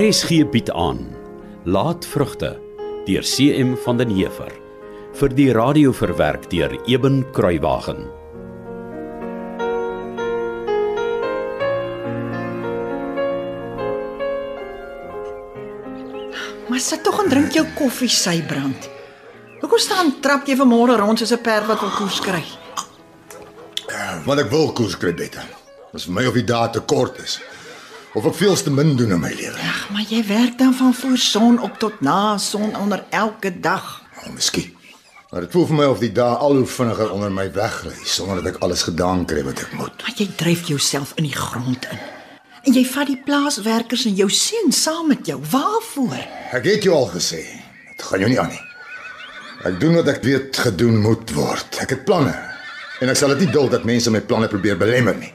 RSG bied aan Laatvrugte deur CM van den Heever vir die radio verwerk deur Eben Kruiwagen. Maar sit tog en drink jou koffie, Sybrand. Hoekom staan trap jy vanmôre rond soos 'n perd wat wil koes kry? Want ek wil koers kry beter. Dis vir my of die dae te kort is. Of ek veel te min doen in my lewe. Ag, maar jy werk dan van voor son op tot na son onder elke dag. Oh, miskien. Maar dit voel vir my of die dae al hoe vinniger onder my wegry sonder dat ek alles gedaan kry wat ek moet. Maar jy dryf jouself in die grond in. En jy vat die plaaswerkers en jou seun saam met jou. Waarvoor? Ek het jou al gesê, dit gaan jou nie aan nie. Ek doen wat ek weet gedoen moet word. Ek het planne. En ek sal dit nie duld dat mense my planne probeer belemmer nie.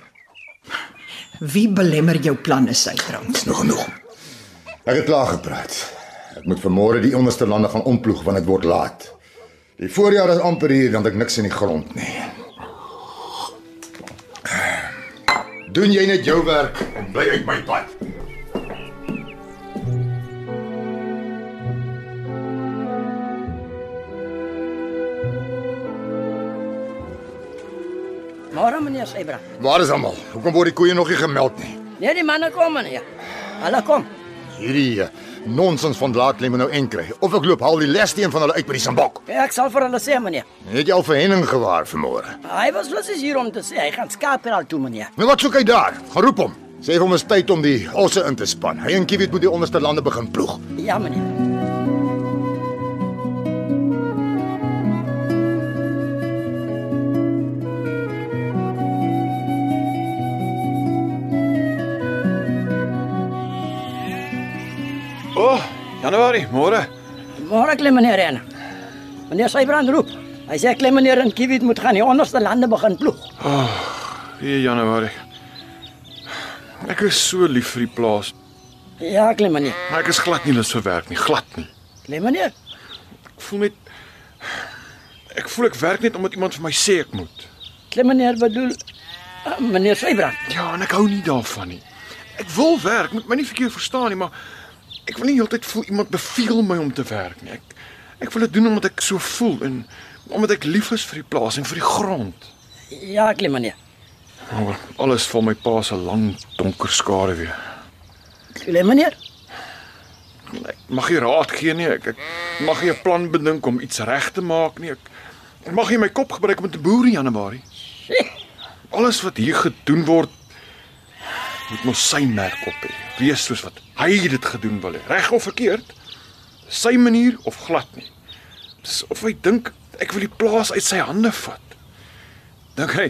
Wie belemmer jou planne, Sybrand? Dis nog genoeg. Ek het klaar gepraat. Ek moet vanmôre die onderste lande gaan omploeg want dit word laat. Die voorjaar is amper hier dan het ek niks in die grond nie. Doen jy net jou werk en bly uit my pad. Môre meneer Sebra. Waar is almal? Hoekom word die koeie nog nie gemeld nie? Nee, die manne kom meneer. Hulle kom. Hierdie eh, nonsens van laat lê my nou en kry. Of ek loop haal die leste een van hulle uit by die sambok. Ek sal vir hulle sê meneer. Het jy al vir Henning gewaar vanmôre? Hy was presies hier om te sê hy gaan skaapel toe meneer. Nou wat soek hy daar? Gaan roep hom. Sê vir hom is tyd om die osse in te span. Hy en Kiewit moet die onderste lande begin ploeg. Ja meneer. O, oh, Januarie, môre. Môre klim meneer in. Meneer Sebra roep. Hy sê klim meneer en Kiwit moet gaan die onderste lande begin ploeg. Hier Januarie. Ek is so lief vir die plaas. Ja, klim meneer. Maar ek is glad nie lus vir werk nie, glad nie. Klim meneer. Ek voel net ek voel ek werk net omdat iemand vir my sê ek moet. Klim meneer bedoel eh, meneer Sebra. Ja, en ek hou nie daarvan nie. Ek wil werk, moet my nie verkeerd verstaan nie, maar ek wil nie heeltyd voel iemand beveel my om te werk nie. Ek ek wil dit doen omdat ek so voel en omdat ek lief is vir die plaas en vir die grond. Ja, klim meneer. Maar alles val my pa se lang donker skare weer. Klim meneer. Nee, Ek mag nie raad gee nie. Ek, ek mag nie 'n plan bedink om iets reg te maak nie. Ek, ek mag nie my kop gebruik om te boer in Januarie. Alles wat hier gedoen word moet mos sy merk op hê. Wees soos wat hy dit gedoen wil hê, reg of verkeerd. Sy manier of glad nie. Dis of hy dink ek wil die plaas uit sy hande vat. Dink hy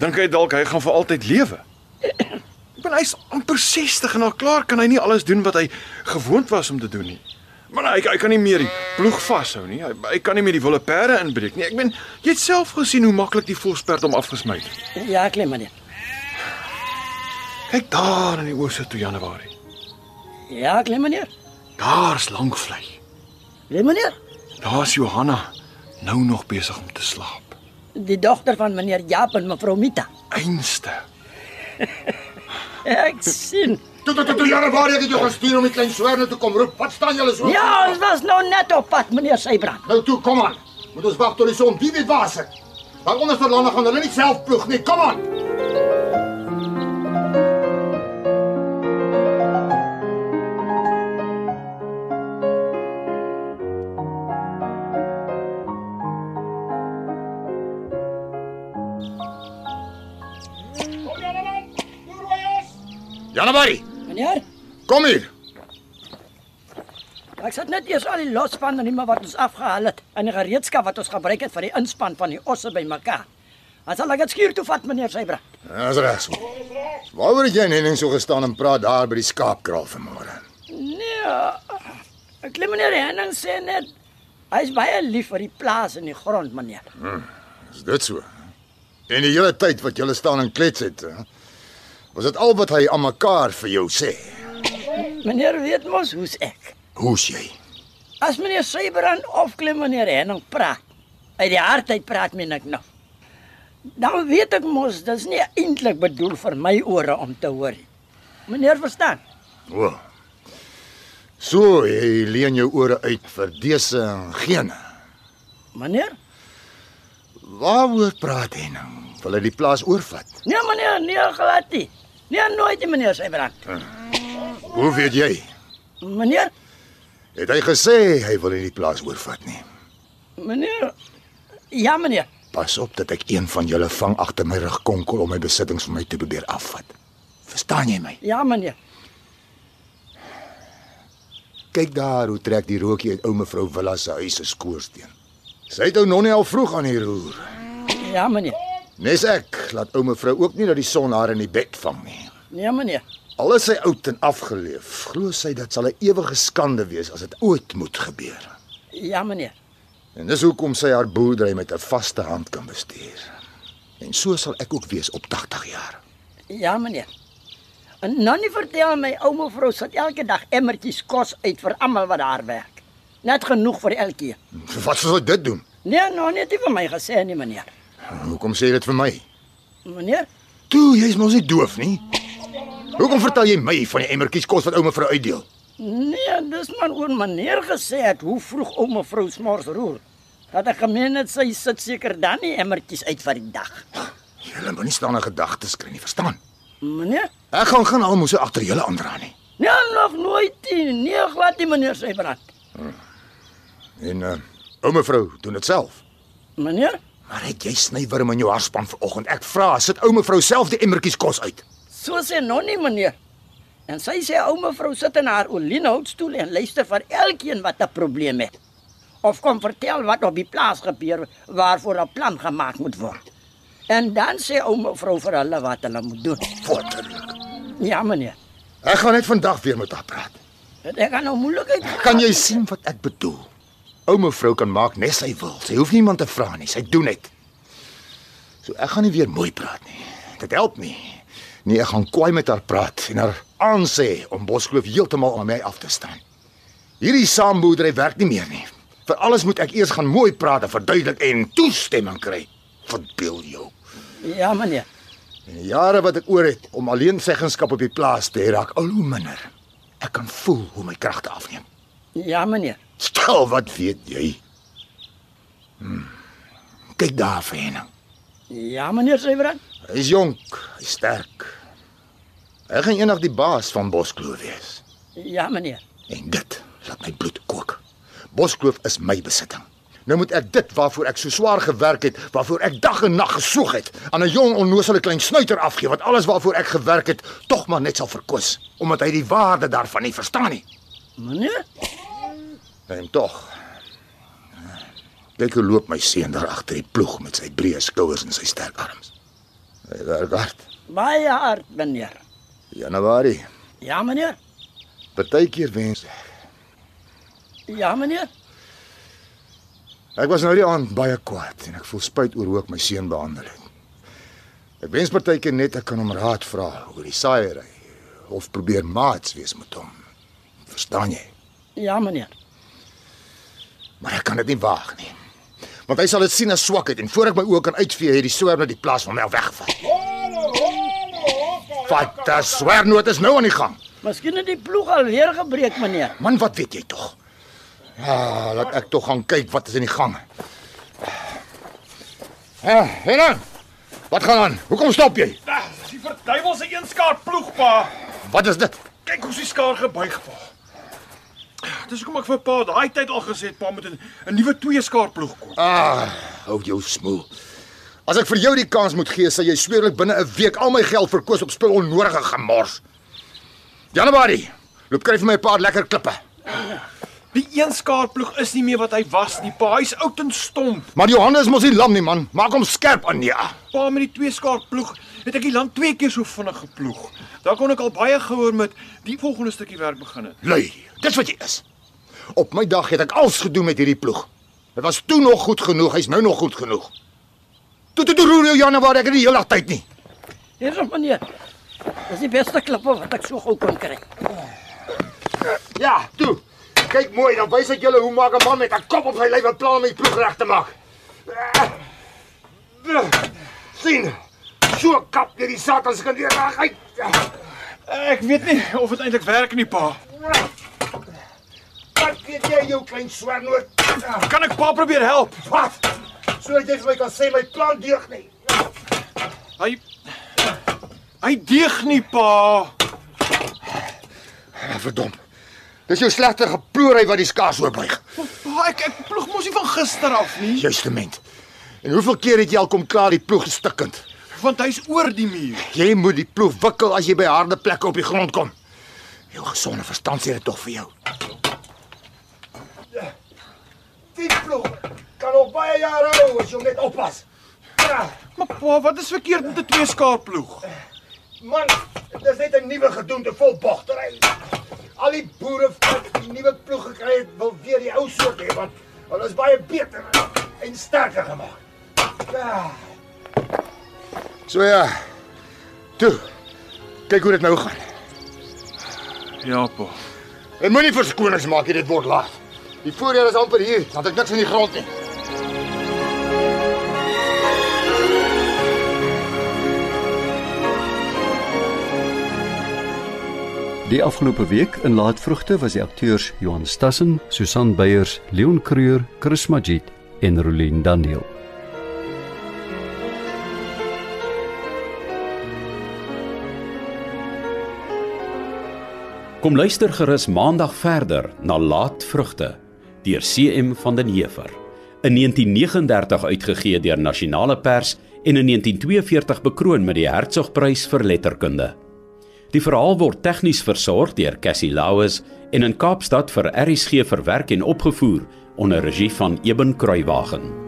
dink hy dalk hy gaan vir altyd lewe. Ek bedoel hy's amper 60 en al klaar kan hy nie alles doen wat hy gewoond was om te doen nie. Maar hy hy kan nie meer die ploeg vashou nie. Hy, hy kan nie meer die wilde perde inbreek nie. Ek meen, jy het self gesien hoe maklik die volsperd hom afgesmy het. Ja, klim meneer. Kyk daar in die oose toe Januarie. Ja, klim meneer. Daar's Langvlei. Klim meneer. Daar's Johanna nou nog besig om te slaap. Die dogter van meneer Jaap en mevrou Mita. Einste. Ek sien. Toe toe toe, toe Januarie het jou gestuur om die klein swerne toe kom roep. Wat staan julle so? Ja, ons was nou net op pad, meneer Sybrand. Nou toe, kom aan. Moet ons wag tot die son. Wie weet waar sit? Daar onderste lande gaan hulle nie self ploeg nie. Kom aan. Janabari, Meneer, kom hier. ek sit net eers al die losspanne nie meer wat ons afgehaal het en die gereedskap wat ons gebruik het vir die inspan van die osse bymekaar. Ons sal dit skuur toe vat, meneer Sybrand. Dis Ja, reg so. Waaroor het jy en Henning so gestaan en praat daar by die skaapkraal vanmôre? Nee. uh, Ek klim meneer Henning sê net hy is baie lief vir die plaas en die grond, meneer. Is dit so? En die hele tyd wat julle staan en klets het, hè? was dit al wat hy aan mekaar vir jou sê? Meneer weet mos hoe's ek. Hoe's jy? As meneer Sybrand of klim meneer Henning praat, uit die hart uit praat men ek nou. Dan weet ek mos dis nie eintlik bedoel vir my ore om te hoor nie. Meneer verstaan? O. So, jy leen jou ore uit vir dese en gene. Meneer? Waaroor praat jy nou? Wil hy die plaas oorvat? Nee meneer, nee glad nie. Nee nooit nie meneer Sybrand. Hoe weet jy? Meneer, Het hy gesê hy wil nie die plaas oorvat nie? meneer. Ja meneer. Pas op dat ek een van julle vang agter my rug konkel om my besittings van my te probeer afvat. Verstaan jy my? Ja meneer. Kyk daar hoe trek die rookie uit ou mevrou Villa se huis se skoorsteen. Sy het ou nonnie al vroeg aan die roer. Ja meneer. Nes ek laat ou mevrou ook nie dat die son haar in die bed vang nie. Nee meneer. Al is sy oud en afgeleef, glo sy dit sal 'n ewige skande wees as dit ooit moet gebeur. Ja meneer. En dis hoekom sy haar boerdery met 'n vaste hand kan bestuur. En so sal ek ook wees op 80 jaar. Ja meneer. En Nannie vertel my ouma vrou sit elke dag emmertjies kos uit vir almal wat daar werk. Net genoeg vir elkeen. Vir Wat sal ek dit doen? Nee, nou net nie vir my gesê nie meneer. Hoekom sê jy dit vir my? Meneer, Toe, jy's mos nie doof nie. Hoekom vertel jy my van die emmertjies kos wat ou mevrou uitdeel? nee, dis maar oor meneer gesê het hoe vroeg ouma vrou s'mors roer. Dat ek gemeen het sy sit seker dan nie emmertjies uit vir die dag. Julle moenie staan en gedagtes kry nie, verstaan? Meneer, Ek gaan gaan almoes agter julle aandra nie. nee, nog nooit nie. Nee, glad nie meneer sy brand. En uh, ou mevrou doen dit self. Meneer, Maar het jy snywerm in jou haarspan vanoggend? Ek vra, sit ou mevrou self die emmertjies kos uit. so sê nog nie meneer. En sy sê ouma vrou sit in haar olienhoutstoel en luister vir elkeen wat 'n probleem het. Of kom vertel wat op die plaas gebeur waarvoor 'n plan gemaak moet word. En dan sê ouma vrou vir hulle wat hulle moet doen. Waterlik. Ja meneer. Ek gaan net vandag weer met haar praat. Ek gaan nou moeilikheid. Kan jy sien wat ek bedoel? Ou mevrou kan maak net sy wil. Sy hoef niemand te vra nie. Sy doen dit. So ek gaan nie weer mooi praat nie. Dit help nie. Nee, ek gaan kwaai met haar praat en haar aansê om Boskloof heeltemal aan my af te staan. Hierdie saamboerdery werk nie meer nie. Vir alles moet ek eers gaan mooi praat en verduidelik en toestemming kry. Verbeel jou. Ja meneer. In die jare wat ek oor het om alleen seggenskap op die plaas te hê, raak al hoe minder. Ek kan voel hoe my kragte afneem. Ja meneer. Stel, wat weet jy? Hmm. Kyk daar vir hom. Ja meneer Sybrand. Hy is jonk, hy is sterk. Hy gaan eendag die baas van Boskloof wees. Ja meneer. En dit laat my bloed kook. Boskloof is my besitting. Nou moet ek dit waarvoor ek so swaar gewerk het, waarvoor ek dag en nag gesoeg het, aan 'n jong onnoosele klein snuiter afgee wat alles waarvoor ek gewerk het, tog maar net sal verkwis, omdat hy die waarde daarvan nie verstaan nie. Meneer? En tog. Kyk hoe loop my seun daar agter die ploeg met sy breë skouers en sy sterk arms. Hy werk hard. Baie hard meneer. Januarie. Ja meneer. Partykeer wens ek Ja meneer. Ek was nou die aand baie kwaad en ek voel spyt oor hoe ek my seun behandel het. Ek wens partykeer net ek kan hom raad vra oor die saaiery of probeer maats wees met hom. Verstaan jy? Ja meneer. Maar ek kan dit nie waag nie. Want hy sal dit sien as swakheid en voor ek my oë kan uitvee, het die swerm uit die plaas van my af weggevat. Wat 'n swermnoot is nou aan die gang. Miskien het die ploeg al weer gebreek meneer. Man, wat weet jy tog? Ja, laat ek tog gaan kyk wat is in die gang. Ja, Helen. Wat gaan aan? Hoekom stop jy? Ah, Dis die verduiwelse eenskaar ploeg pa. Wat is dit? Kyk hoe sy skaar gebuig val. Dis hoekom ek vir pa daai tyd al gesê het pa moet 'n 'n nuwe twee skaar ploeg koop. Ah, hou jou smoel. As ek vir jou die kans moet gee, sal jy sweerlik binne 'n week al my geld verkoos op spul onnodige gemors. Januarie, loop kry vir my 'n paar lekker klippe. Die eenskaar ploeg is nie meer wat hy was nie. Pa, hy's oud en stomp. Maar Johannes mos nie lam nie, man. Maak hom skerp aan, ja. Pa met die twee skaar ploeg het ek die land twee keer so vinnig geploeg. Daar kon ek al baie gehoor met die volgende stukkie werk begin het. Lui, dis wat jy is. Op my dag het ek alles gedoen met hierdie ploeg. Dit was toe nog goed genoeg, hy's nou nog goed genoeg. Toe toe toe roer jou Januarie, ek het die hele dag tyd nie. Hier is meneer. Dis die beste klippe wat ek so gou kon kry. Ja, toe. Kyk mooi, dan wys ek julle hoe maak 'n man met 'n kop op sy lyf 'n plan om die ploeg reg te Eh, maak. Ja, sien. So kap jy die satans kan weer reg uit. Ek weet nie of dit eintlik werk nie, pa. Wat weet jy jou klein swarnoord? Kan ek pa probeer help? Wat? Sodat jy vir my kan sê my plan deug nie. Hy Hy deeg nie, pa. Verdom. Dis jou slegte geploery wat die skaars oopbuig. Pa, ek ek ploeg mos nie van gister af nie, Justement. En hoeveel keer het jy al kom klaar die ploeg gestikkend? want hy's oor die muur. Jy moet die ploeg wikkel as jy by harde plekke op die grond kom. Jou gesonde verstand sê dit tog vir jou. Ja. Die ploeg kan op baie jare hou as jy net oppas. Ja, Maar pa, wat is verkeerd met 'n twee skaar ploeg? man, dit is net 'n nuwe gedoente vol bogtery. Al die boere wat die nuwe ploeg gekry het, wil weer die ou soort hê want hulle is baie beter en sterker gemaak. Ja. So ja. Toe. Kyk hoe dit nou gaan. Ja, pa. En moenie verskonings maak nie, dit word laat. Die voorjaar is amper hier, want ek niks van die grond nie. Die afgelope week in Laatvrugte was die akteurs Johan Stassen, Susan Beyers, Leon Creur, Chris Magid en Rolien Daniel. Kom luister gerus maandag verder na Laatvrugte deur CM van den Heever in 1939 uitgegee deur Nasionale Pers en in 1942 bekroon met die Hertzogprys vir letterkunde. Die verhaal word tegnies versorg deur Cassie Lauis en in Kaapstad vir RSG verwerk en opgevoer onder regie van Eben Kruiwagen.